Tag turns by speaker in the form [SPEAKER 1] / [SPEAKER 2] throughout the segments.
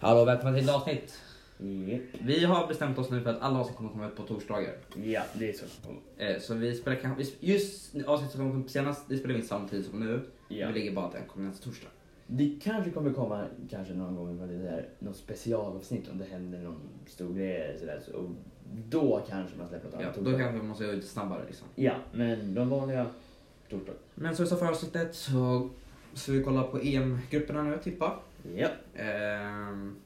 [SPEAKER 1] Hallå, välkomna till ett avsnitt.
[SPEAKER 2] Mm.
[SPEAKER 1] Vi har bestämt oss nu för att alla avsnitt kommer komma ut på torsdagar.
[SPEAKER 2] Ja, det är så.
[SPEAKER 1] Eh, så vi spelar kanske, vi- just avsnittet som kom upp senast, det spelar vi inte samtidigt som nu.
[SPEAKER 2] Ja.
[SPEAKER 1] Vi lägger bara att den kommer nästa torsdag.
[SPEAKER 2] Det kanske kommer komma kanske någon gång vad det där, något specialavsnitt om det händer någon stor grej eller sådär. Så, och då kanske man släpper något
[SPEAKER 1] Ja,
[SPEAKER 2] annat.
[SPEAKER 1] då kanske vi måste göra lite snabbare liksom.
[SPEAKER 2] ja, men de vanliga torsdag.
[SPEAKER 1] Men som vi sa förra avsnittet så ska vi kolla på EM-grupperna nu, tippa.
[SPEAKER 2] Ja.
[SPEAKER 1] Ehm,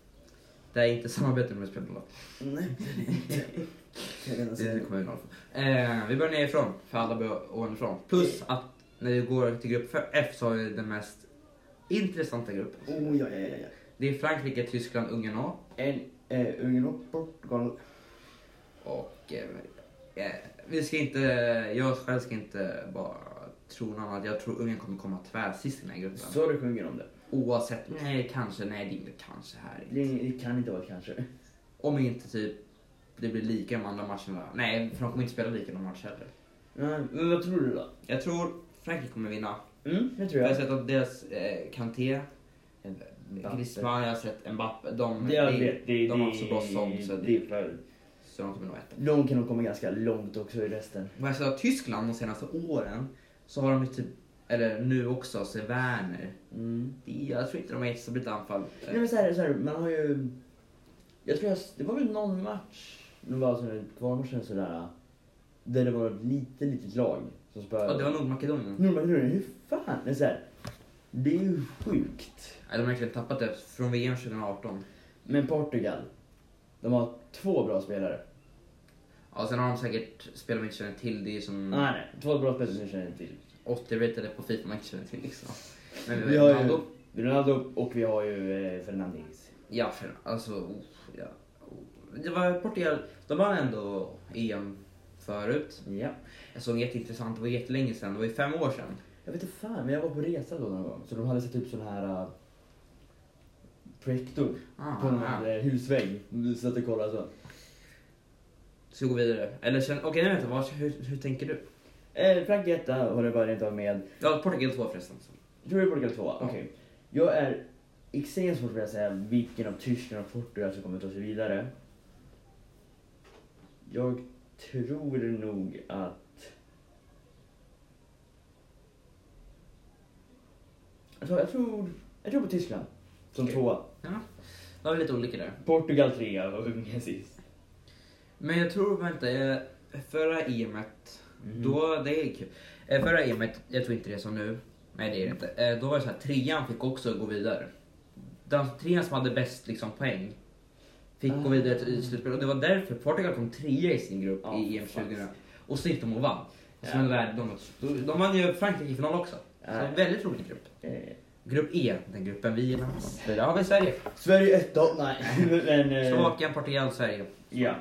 [SPEAKER 1] det är inte samarbete med spelbolag.
[SPEAKER 2] Nej,
[SPEAKER 1] Det kommer vi noll för. Eh, vi börjar nerifrån, för alla börjar ovanifrån. Plus att när vi går till grupp F så har vi den mest intressanta gruppen.
[SPEAKER 2] Oh, ja, ja, ja, ja.
[SPEAKER 1] Det är Frankrike, Tyskland, Ungern A
[SPEAKER 2] En eh, Ungern och Portugal.
[SPEAKER 1] Och eh, eh, vi ska inte, jag själv ska inte bara tro något annat. Jag tror Ungern kommer komma tvärsist i den här gruppen.
[SPEAKER 2] Så du sjunger om det.
[SPEAKER 1] Oavsett, nej kanske, nej det är inte kanske här.
[SPEAKER 2] det. Det kan inte vara ett kanske.
[SPEAKER 1] Om inte typ det blir lika de andra matcherna. Nej, för de kommer inte spela lika de matcher heller.
[SPEAKER 2] Men, men vad tror du då?
[SPEAKER 1] Jag tror Frankrike kommer vinna.
[SPEAKER 2] Mm, det tror
[SPEAKER 1] Jag har
[SPEAKER 2] jag.
[SPEAKER 1] sett att deras eh, Kanté,
[SPEAKER 2] Mbappe.
[SPEAKER 1] Griezmann, jag har sett Mbappe. De,
[SPEAKER 2] Det jag
[SPEAKER 1] de,
[SPEAKER 2] vet. Det,
[SPEAKER 1] de har
[SPEAKER 2] det-
[SPEAKER 1] så bra sånt så,
[SPEAKER 2] Det är för...
[SPEAKER 1] så de kommer nog etta.
[SPEAKER 2] De kan nog komma ganska långt också i resten.
[SPEAKER 1] Vad jag sett av Tyskland de senaste åren så har de ju typ, eller nu också, så är Werner.
[SPEAKER 2] Mm.
[SPEAKER 1] Det- Jag tror inte de har ett stabilt anfall.
[SPEAKER 2] Nej men så här, så här, man har ju... Jag tror jag, det var väl någon match, det var alltså en kvalmatch eller sådär, där det var ett litet, litet lag som spöade.
[SPEAKER 1] Ja, det var Nordmakedonien.
[SPEAKER 2] Nordmakedonien, hur fan? Det är, så här, det är ju sjukt.
[SPEAKER 1] Nej, de har verkligen tappat det från VM 2018.
[SPEAKER 2] Men Portugal, de har två bra spelare.
[SPEAKER 1] Mm. Ja, sen har de säkert spelare man inte känner till. Det är ju som
[SPEAKER 2] Nej, nej, två bra spelare som jag känner till.
[SPEAKER 1] 80-ratade på Fifa man inte känner till liksom. Men
[SPEAKER 2] Vi har ju
[SPEAKER 1] Ronaldo-
[SPEAKER 2] Ronaldo och vi har ju eh, Fernandes.
[SPEAKER 1] Ja, för, alltså... oh, Ja. oh. Det var Portugal. De vann ändå EM förut.
[SPEAKER 2] Ja.
[SPEAKER 1] Jag såg jätteintressant, det var jättelänge sedan. Det var ju fem år sedan.
[SPEAKER 2] Jag vet inte fan, men jag var på resa då någon gång. Så de hade sett upp sådana här uh, projektor
[SPEAKER 1] Ah,
[SPEAKER 2] på en
[SPEAKER 1] ah.
[SPEAKER 2] ah. husvägg. Du satt och kollade så.
[SPEAKER 1] Så vi går vidare. Eller känn- okej, okay, vänta. Vad, hur, hur tänker du?
[SPEAKER 2] Eh, Frankrike etta har jag bara inte av med.
[SPEAKER 1] Ja, Portugal 2 förresten.
[SPEAKER 2] Tror du Portugal tvåa? Okej. Jag är extremt svårt för att säga vilken av Tyskland och Portugal som kommer ta sig vidare. Jag tror nog att... Jag tror, jag tror, jag tror på Tyskland som
[SPEAKER 1] Okej.
[SPEAKER 2] tvåa.
[SPEAKER 1] Ja. Då har vi lite olika där.
[SPEAKER 2] Portugal alltså, trea och Ungern sist.
[SPEAKER 1] Men jag tror, vänta, eh, förra EMet,
[SPEAKER 2] Mhm.
[SPEAKER 1] då, det är kul. Eh, Förra EMet, jag tror inte det är som nu. Nej det är det inte. Eh, Då var det så här, trean fick också gå vidare. Den trean som hade bäst liksom, poäng fick gå
[SPEAKER 2] Ah.
[SPEAKER 1] vidare till slutspel. Och det var därför Portugal kom trea i sin grupp
[SPEAKER 2] Ja,
[SPEAKER 1] i E EM
[SPEAKER 2] fan.
[SPEAKER 1] 2000. Och så gick de och vann. Och
[SPEAKER 2] Ja.
[SPEAKER 1] sen värde de, de, de vann ju Frankrike i final också. Så
[SPEAKER 2] Ja.
[SPEAKER 1] en väldigt rolig grupp.
[SPEAKER 2] Eh,
[SPEAKER 1] Grupp E, den gruppen vi gillar mest. Där har vi Sverige.
[SPEAKER 2] Sverige etta, nej. Men, eh,
[SPEAKER 1] Slovakien, Portugal, Sverige.
[SPEAKER 2] ja.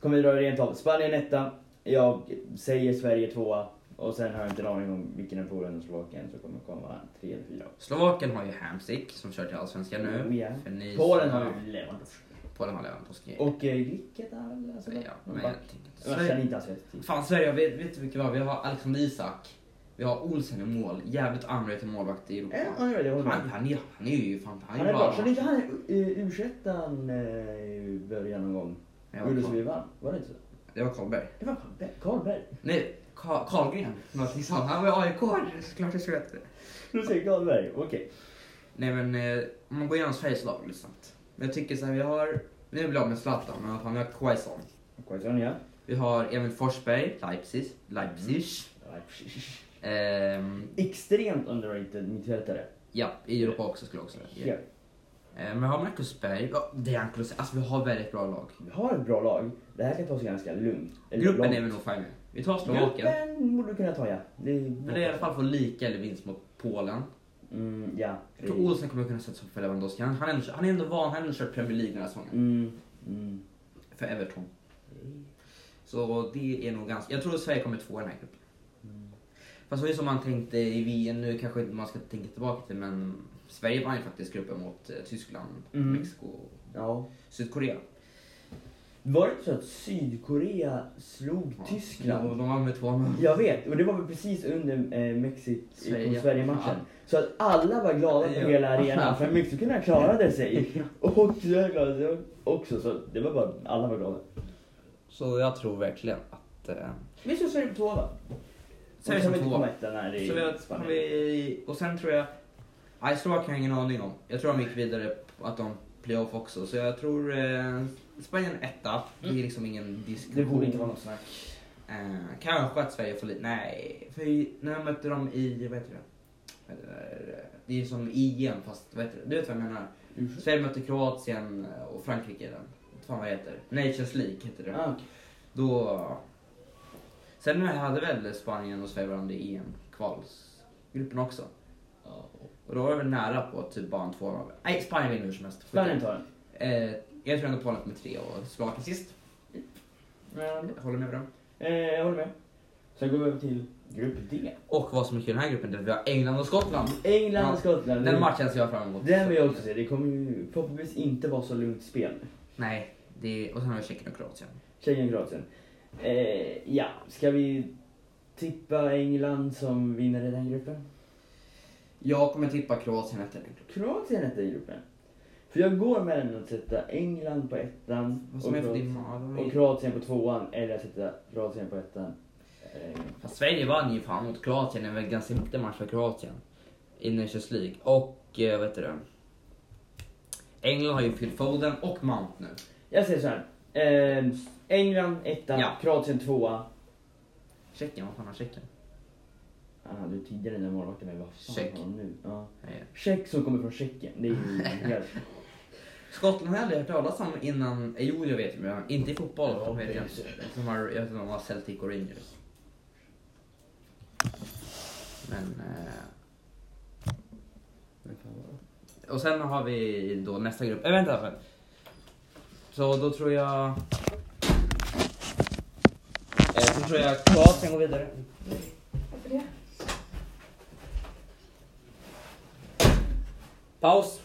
[SPEAKER 2] Kommer vi dra det rent av. Spanien etta. Jag säger Sverige tvåa. Och sen har jag inte en aning om vilken av Polen och Slovakien som kommer komma tre eller fyra.
[SPEAKER 1] Slovakien har ju Hamsik som kör till Allsvenskan nu.
[SPEAKER 2] Oh, ja.
[SPEAKER 1] För ni-
[SPEAKER 2] Polen har ju Lewandowski.
[SPEAKER 1] Polen har Lewandowski.
[SPEAKER 2] Och eh, Gricket har väl alltså
[SPEAKER 1] ja, men jag tänker inte.
[SPEAKER 2] Man känner
[SPEAKER 1] Sverige,
[SPEAKER 2] inte hans rätt till.
[SPEAKER 1] fan Sverige, vet, vet du vilka vi har? Vi har Alexander Isak. Vi har Olsen i mål. Jävligt anröjt målvakt i Europa.
[SPEAKER 2] Eh, ja, jag håller
[SPEAKER 1] Han,
[SPEAKER 2] med.
[SPEAKER 1] han, är, han är ju fan, han
[SPEAKER 2] Han
[SPEAKER 1] är
[SPEAKER 2] är bra.
[SPEAKER 1] bra.
[SPEAKER 2] Körde inte han eh, U21 eh, i början någon gång?
[SPEAKER 1] Jag var
[SPEAKER 2] Gjorde
[SPEAKER 1] kvar.
[SPEAKER 2] så vi vann. Var det inte så?
[SPEAKER 1] Det var Karlberg.
[SPEAKER 2] Det var Karlberg. Karlberg.
[SPEAKER 1] Nej, Ka- Karlgren. Någonting sånt. Han var AIK. Såklart jag skulle veta det.
[SPEAKER 2] Du säger Karlberg. Okej.
[SPEAKER 1] Nej men eh, om man går igenom Sveriges lag lite snabbt. Men jag tycker så här, vi har... Nu blir jag av med Zlatan, men fan, vi har Quaison.
[SPEAKER 2] Quaison ja.
[SPEAKER 1] Vi har Emil Forsberg, Leipzig. Leipzig.
[SPEAKER 2] Leipzig.
[SPEAKER 1] Ehm,
[SPEAKER 2] Extremt underrated mittfältare.
[SPEAKER 1] ja, i Europa också skulle jag också säga.
[SPEAKER 2] Ja.
[SPEAKER 1] Eh, Men vi har Marcus Berg, ja, det är han kunde säga. Alltså vi har väldigt bra lag.
[SPEAKER 2] Vi har ett bra lag. Det här kan ta sig ganska lugnt. Eller
[SPEAKER 1] Gruppen
[SPEAKER 2] långt.
[SPEAKER 1] är vi nog fine med. Vi tar Slovakien.
[SPEAKER 2] Gruppen borde du kunna ta ja. Det är...
[SPEAKER 1] Men det är i alla fall för lika eller vinst mot Polen.
[SPEAKER 2] Mm, ja.
[SPEAKER 1] Jag tror Olsen kommer kunna sätta sig upp för Lewandowski. Han, han, är ändå, han är ändå van, han har ändå kört Premier League den här säsongen.
[SPEAKER 2] Mm, mm.
[SPEAKER 1] För Everton. Så det är nog ganska... Jag tror att Sverige kommer två i den här gruppen. Fast det är som man tänkte i VM, nu kanske inte man ska tänka tillbaka till men Sverige vann ju faktiskt gruppen mot eh, Tyskland,
[SPEAKER 2] Mm.
[SPEAKER 1] Mexiko och
[SPEAKER 2] Ja.
[SPEAKER 1] Sydkorea.
[SPEAKER 2] Var det inte så att Sydkorea slog
[SPEAKER 1] Ja.
[SPEAKER 2] Tyskland?
[SPEAKER 1] Jo, De vann med 2-0.
[SPEAKER 2] Jag vet, och det var väl precis under eh,
[SPEAKER 1] Sverige.
[SPEAKER 2] Mexiko-Sverige-matchen.
[SPEAKER 1] Ja.
[SPEAKER 2] Så att alla var glada på
[SPEAKER 1] Ja.
[SPEAKER 2] hela arenan för Mexikoerna klarade sig. Och Tyskland klarade sig också, så det var bara, alla var glada.
[SPEAKER 1] Så jag tror verkligen att... Eh,
[SPEAKER 2] Vi såg Sverige på tvåa va?
[SPEAKER 1] Sverige
[SPEAKER 2] Och
[SPEAKER 1] som
[SPEAKER 2] vi inte
[SPEAKER 1] tvåa.
[SPEAKER 2] komma etta när det
[SPEAKER 1] så vi
[SPEAKER 2] är
[SPEAKER 1] har, har
[SPEAKER 2] Spanien.
[SPEAKER 1] vi, och sen tror jag... Nej, Slovakien har jag ingen aning om. Jag tror de gick vidare, på att de playoff också. Så jag tror eh, Spanien etta. Det är liksom ingen diskussion.
[SPEAKER 2] Mm. Det borde inte vara något snack.
[SPEAKER 1] Eh, kanske att Sverige får lite... Nej, för i- när jag mötte dem i... Vad heter det? Vad heter det? Det är som EM fast... Vad heter det? Du vet vad jag
[SPEAKER 2] Mm.
[SPEAKER 1] menar? Sverige mötte Kroatien och Frankrike i den. Fan vad det heter. Nations League heter det.
[SPEAKER 2] Ah, okej.
[SPEAKER 1] Då... Sen hade väl Spanien och Sverige varandra i EM-kvalsgruppen också. Och då var det väl nära på typ bara en två Nej, Spanien vinner hur som helst.
[SPEAKER 2] Spanien tar den.
[SPEAKER 1] Eh, jag tror ändå Polen med tre och Slovakien sist.
[SPEAKER 2] Men,
[SPEAKER 1] Jag håller med dem.
[SPEAKER 2] eh, jag håller med. Sen går vi över till grupp D.
[SPEAKER 1] Och vad som är kul i den här gruppen det är att vi har England och Skottland.
[SPEAKER 2] England,
[SPEAKER 1] Ja.
[SPEAKER 2] Skottland.
[SPEAKER 1] Mm. Den matchen ser jag fram emot.
[SPEAKER 2] Den vill jag också se. Det kommer ju förhoppningsvis inte vara så lugnt spel.
[SPEAKER 1] Nej, det är... och sen har vi Tjeckien och Kroatien.
[SPEAKER 2] Tjeckien, Kroatien. Eh, ja, ska vi tippa England som vinner i den gruppen?
[SPEAKER 1] Jag kommer tippa Kroatien efter den.
[SPEAKER 2] Kroatien etta i gruppen. För jag går mellan att sätta England på ettan
[SPEAKER 1] Vad
[SPEAKER 2] och,
[SPEAKER 1] som är för
[SPEAKER 2] Kroat-
[SPEAKER 1] din ja, de är-
[SPEAKER 2] och Kroatien på tvåan eller att sätta Kroatien på ettan. Eh,
[SPEAKER 1] Fast Sverige vann ju fan mot Kroatien, en ganska viktig match för Kroatien. I Nations League. Och, eh, vad heter det? England har ju Phil Foden och Mount nu.
[SPEAKER 2] Jag säger så här. Eh, England etta,
[SPEAKER 1] Ja.
[SPEAKER 2] Kroatien tvåa.
[SPEAKER 1] Tjeckien, vad fan har Tjeckien?
[SPEAKER 2] Ah, du tidigare den där målvakten men vad fan
[SPEAKER 1] Check.
[SPEAKER 2] har han nu? Ja.
[SPEAKER 1] Nej.
[SPEAKER 2] Check som kommer från Tjeckien. Det är ju helt...
[SPEAKER 1] Skottland har jag aldrig hört talas om innan. eh, Jo, jag vet ju, men inte i fotboll.
[SPEAKER 2] Ja,
[SPEAKER 1] vet jag,
[SPEAKER 2] precis.
[SPEAKER 1] inte. som har, jag vet inte om de har Celtic och Rangers. Men... Eh... Och sen har vi då nästa grupp. Äh, vänta! vänta. Så då tror jag... Eh, då tror jag Kroatien går vidare.
[SPEAKER 3] Varför det?
[SPEAKER 1] Paus!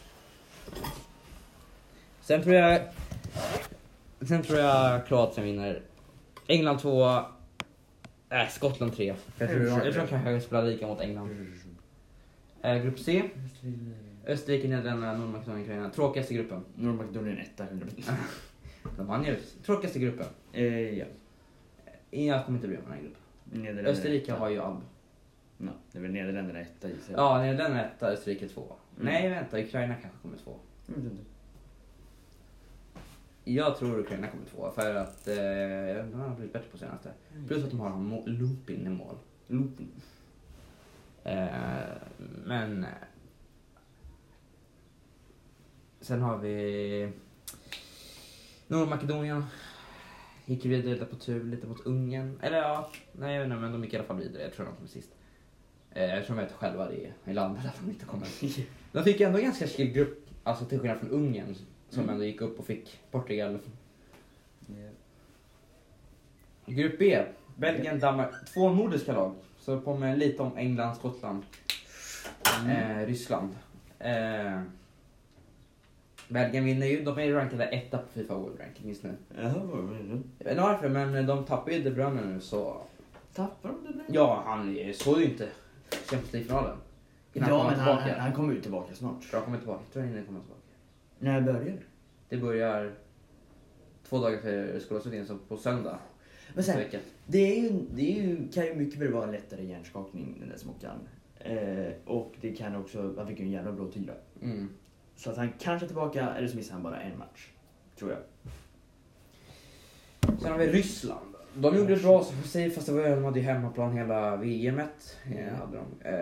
[SPEAKER 1] Sen tror jag... Sen tror jag Kroatien vinner. England tvåa. Nej, Skottland trea. Jag tror, jag tror de kanske spelar lika mot England. Eh, grupp C. Österrike, Nederländerna, Nordmakedonien, Ukraina. Tråkigaste gruppen.
[SPEAKER 2] Nordmakedonien etta, 100%.
[SPEAKER 1] De vann ju. Tråkigaste gruppen.
[SPEAKER 2] eh, ja.
[SPEAKER 1] Jag kommer inte bry mig om den här gruppen.
[SPEAKER 2] Nederländerna
[SPEAKER 1] Österrike
[SPEAKER 2] etta.
[SPEAKER 1] har ju Alb.
[SPEAKER 2] Ja, det är väl Nederländerna etta gissar jag.
[SPEAKER 1] Ja, Nederländerna etta, Österrike tvåa.
[SPEAKER 2] Mm.
[SPEAKER 1] Nej, vänta. Ukraina kanske kommer tvåa.
[SPEAKER 2] Jag vet inte.
[SPEAKER 1] Jag tror Ukraina kommer tvåa för att eh, de har blivit bättre på senaste. Plus att de har en må- Lupin i mål.
[SPEAKER 2] Lupin.
[SPEAKER 1] Eh, men... eh, Sen har vi Nordmakedonien. Gick ju vidare lite på tur, lite mot Ungern. Eller ja, nej jag vet inte men de gick i alla fall vidare. Jag tror de kom sist. Eh, jag tror de vet själva det i landet att de inte kommer. De fick ju ändå ganska chill grupp, alltså till skillnad från Ungern som
[SPEAKER 2] Mm.
[SPEAKER 1] ändå gick upp och fick Portugal. Grupp B, Belgien, Danmark. Två nordiska lag. Så påminner lite om England, Skottland.
[SPEAKER 2] Mm.
[SPEAKER 1] eh, Ryssland. Eh, Belgien vinner ju. De är ju rankade etta på Fifa World Ranking just nu.
[SPEAKER 2] Jaha, vad menar du?
[SPEAKER 1] Jag vet inte varför, men de tappar ju De Bruyne nu så...
[SPEAKER 2] Tappar de det nu?
[SPEAKER 1] Ja, han är- såg ju inte Champions League-finalen. Innan
[SPEAKER 2] Ja,
[SPEAKER 1] han
[SPEAKER 2] men
[SPEAKER 1] kom
[SPEAKER 2] han,
[SPEAKER 1] tillbaka.
[SPEAKER 2] han, han kommer ju tillbaka snart.
[SPEAKER 1] Bra, kommer tillbaka. Jag tror han hinner komma tillbaka.
[SPEAKER 2] När börjar det?
[SPEAKER 1] Det börjar två dagar före skolavslutningen, så på söndag.
[SPEAKER 2] Men sen,
[SPEAKER 1] nästa vecka.
[SPEAKER 2] det, är ju, det är ju, kan ju mycket väl vara en lättare hjärnskakning, den där smockan. Eh, och det kan också, han fick ju en jävla blåtira.
[SPEAKER 1] Mm.
[SPEAKER 2] Så att han kanske är tillbaka, eller så missar han bara en match. Tror jag.
[SPEAKER 1] Sen har vi Ryssland. De gjorde det bra som för sig fast det var, de hade ju hemmaplan hela VMet.
[SPEAKER 2] Mm.
[SPEAKER 1] Mm. Hade de. Eh,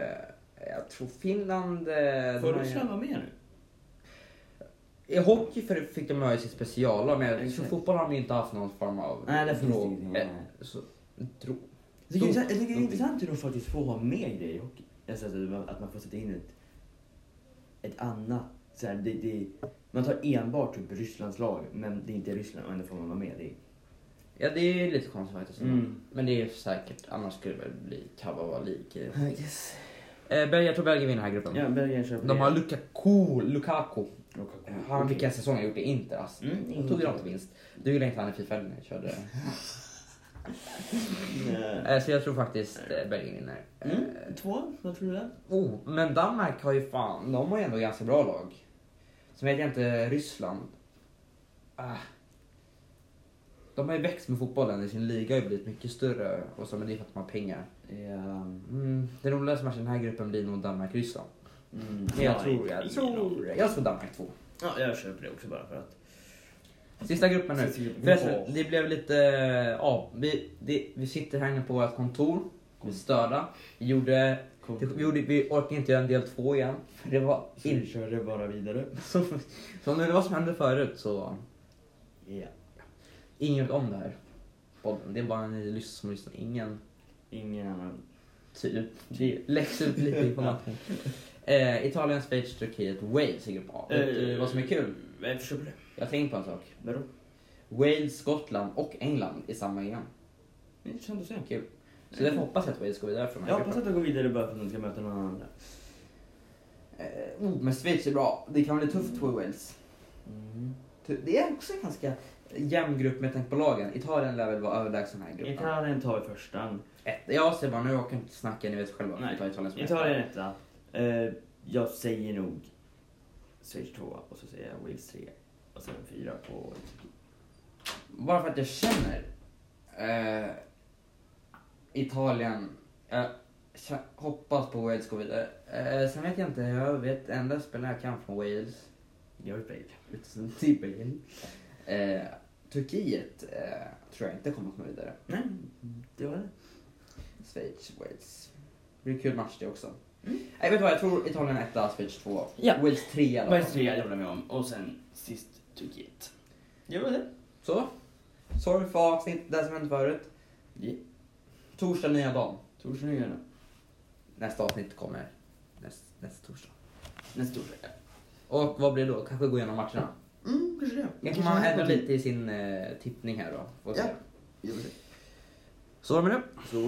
[SPEAKER 1] jag tror Finland... eh, de har
[SPEAKER 2] Får
[SPEAKER 1] ju-
[SPEAKER 2] Ryssland vara med nu?
[SPEAKER 1] I hockey för- fick de ju sitt speciallag men jag tror
[SPEAKER 2] Exakt.
[SPEAKER 1] fotboll har de inte haft någon form av
[SPEAKER 2] Nej, där finns det
[SPEAKER 1] drog-
[SPEAKER 2] ingenting,
[SPEAKER 1] eh,
[SPEAKER 2] nej.
[SPEAKER 1] så, drog.
[SPEAKER 2] Jag tycker, det är
[SPEAKER 1] Stort.
[SPEAKER 2] intressant- jag tycker det är
[SPEAKER 1] Stort.
[SPEAKER 2] intressant hur de faktiskt får ha med grejer i hockey. Alltså att, det var- att man får sätta in ett, ett annat. Så här, det, det, man tar enbart typ Rysslands lag, men det är inte Ryssland och ändå får man vara med. Det är,
[SPEAKER 1] Ja det är lite konstigt faktiskt.
[SPEAKER 2] Mm.
[SPEAKER 1] Men det är säkert, annars skulle det väl bli Kavavallik. Eh,
[SPEAKER 2] yes.
[SPEAKER 1] Bel- jag tror Belgien vinner den här gruppen.
[SPEAKER 2] Ja, Belgien kör på
[SPEAKER 1] De
[SPEAKER 2] det.
[SPEAKER 1] har Lukaku, Lukaku Han, vilken säsong han gjort i Inter alltså.
[SPEAKER 2] Mm,
[SPEAKER 1] han tog ju dem till vinst. Du gillar inte han i Fifa när jag körde.
[SPEAKER 2] Eh,
[SPEAKER 1] Eh, Så jag tror faktiskt eh, Belgien vinner. Eh,
[SPEAKER 2] Mm, två, vad tror du det?
[SPEAKER 1] Oh, men Danmark har ju fan, de har ju ändå ganska bra lag. Sen vet jag inte, Ryssland. Ah. De har ju växt med fotbollen, i sin liga har ju blivit mycket större och så men det är för att de har pengar.
[SPEAKER 2] Ja,
[SPEAKER 1] Mm. Den roligaste matchen i den här gruppen blir nog Danmark-Ryssland.
[SPEAKER 2] mm,
[SPEAKER 1] Jag tror,
[SPEAKER 2] ingen
[SPEAKER 1] jag tror, jag tror Danmark 2.
[SPEAKER 2] Ja, jag köper det också bara för att.
[SPEAKER 1] Sista gruppen nu.
[SPEAKER 2] Sista gruppen.
[SPEAKER 1] Förresten, det blev lite... Ja, vi, det, vi sitter här inne på vårt kontor. Vi är störda. Vi gjorde... det- Vi, gjorde, vi orkade inte göra en del två igen. För det var
[SPEAKER 2] Så vi
[SPEAKER 1] in,
[SPEAKER 2] körde bara vidare.
[SPEAKER 1] så, så om det var som hände förut så...
[SPEAKER 2] Ja.
[SPEAKER 1] Ingen vet om det här. podden. Det är bara ni lys- som lyssnar. Ingen
[SPEAKER 2] Ingen annan.
[SPEAKER 1] typ. Det läggs ut lite information. Eh, Italien, Schweiz, Turkiet, Wales i grupp A. Vet du vad som är kul?
[SPEAKER 2] Eh, Jag förstår det.
[SPEAKER 1] Jag tänkte på en sak.
[SPEAKER 2] Vadå?
[SPEAKER 1] Wales, Skottland och England i samma igen.
[SPEAKER 2] Det är intressant att se.
[SPEAKER 1] Kul.
[SPEAKER 2] Mm.
[SPEAKER 1] Så därför hoppas jag att Wales går vidare från den
[SPEAKER 2] Jag
[SPEAKER 1] här
[SPEAKER 2] hoppas
[SPEAKER 1] gruppen.
[SPEAKER 2] att de går vidare bara för att de ska möta någon annan.
[SPEAKER 1] Eh, oh, men Schweiz är bra. Det kan bli tufft för Wales.
[SPEAKER 2] Mm.
[SPEAKER 1] Ty- Det är också en ganska jämn grupp med tanke på lagen. Italien lär väl vara överlägsen här i gruppen.
[SPEAKER 2] Italien tar vi första.
[SPEAKER 1] Ett. Jag ser bara, nu orkar jag inte snacka, ni vet själva.
[SPEAKER 2] Nej.
[SPEAKER 1] Vi tar Italien som
[SPEAKER 2] Italien
[SPEAKER 1] etta.
[SPEAKER 2] etta. Eh, jag säger nog Schweiz tvåa och så säger jag Wales trea. Och sen fyra på...
[SPEAKER 1] Bara för att jag känner eh, Italien. Jag kä- hoppas på Wales går vidare. Eh, sen vet jag inte, jag vet enda spelare jag kan från Wales.
[SPEAKER 2] Gareth Bale.
[SPEAKER 1] Utan Tibelin. Eh, Turkiet eh, tror jag inte kommer komma vidare.
[SPEAKER 2] Nej, det var det.
[SPEAKER 1] Schweiz, Wales. Det blir kul match det också. Nej, vet du vad, jag tror Italien etta, Schweiz två.
[SPEAKER 2] Ja.
[SPEAKER 1] Wales trea då.
[SPEAKER 2] Wales trea, det håller jag med om. Och sen sist Turkiet. Det var det.
[SPEAKER 1] Så. Sorry för avsnitt, det som hände förut.
[SPEAKER 2] Yeah.
[SPEAKER 1] Torsdag nya dagen.
[SPEAKER 2] Torsdag nyheterna.
[SPEAKER 1] Nästa avsnitt kommer näst, nästa torsdag.
[SPEAKER 2] Nästa torsdag.
[SPEAKER 1] Och vad blir det då? Kanske gå igenom matcherna.
[SPEAKER 2] Mm, kanske det.
[SPEAKER 1] Kanske man ändrar lite i sin eh, tippning här då. Får vi se.
[SPEAKER 2] Ja.
[SPEAKER 1] Så var det med det.
[SPEAKER 2] Så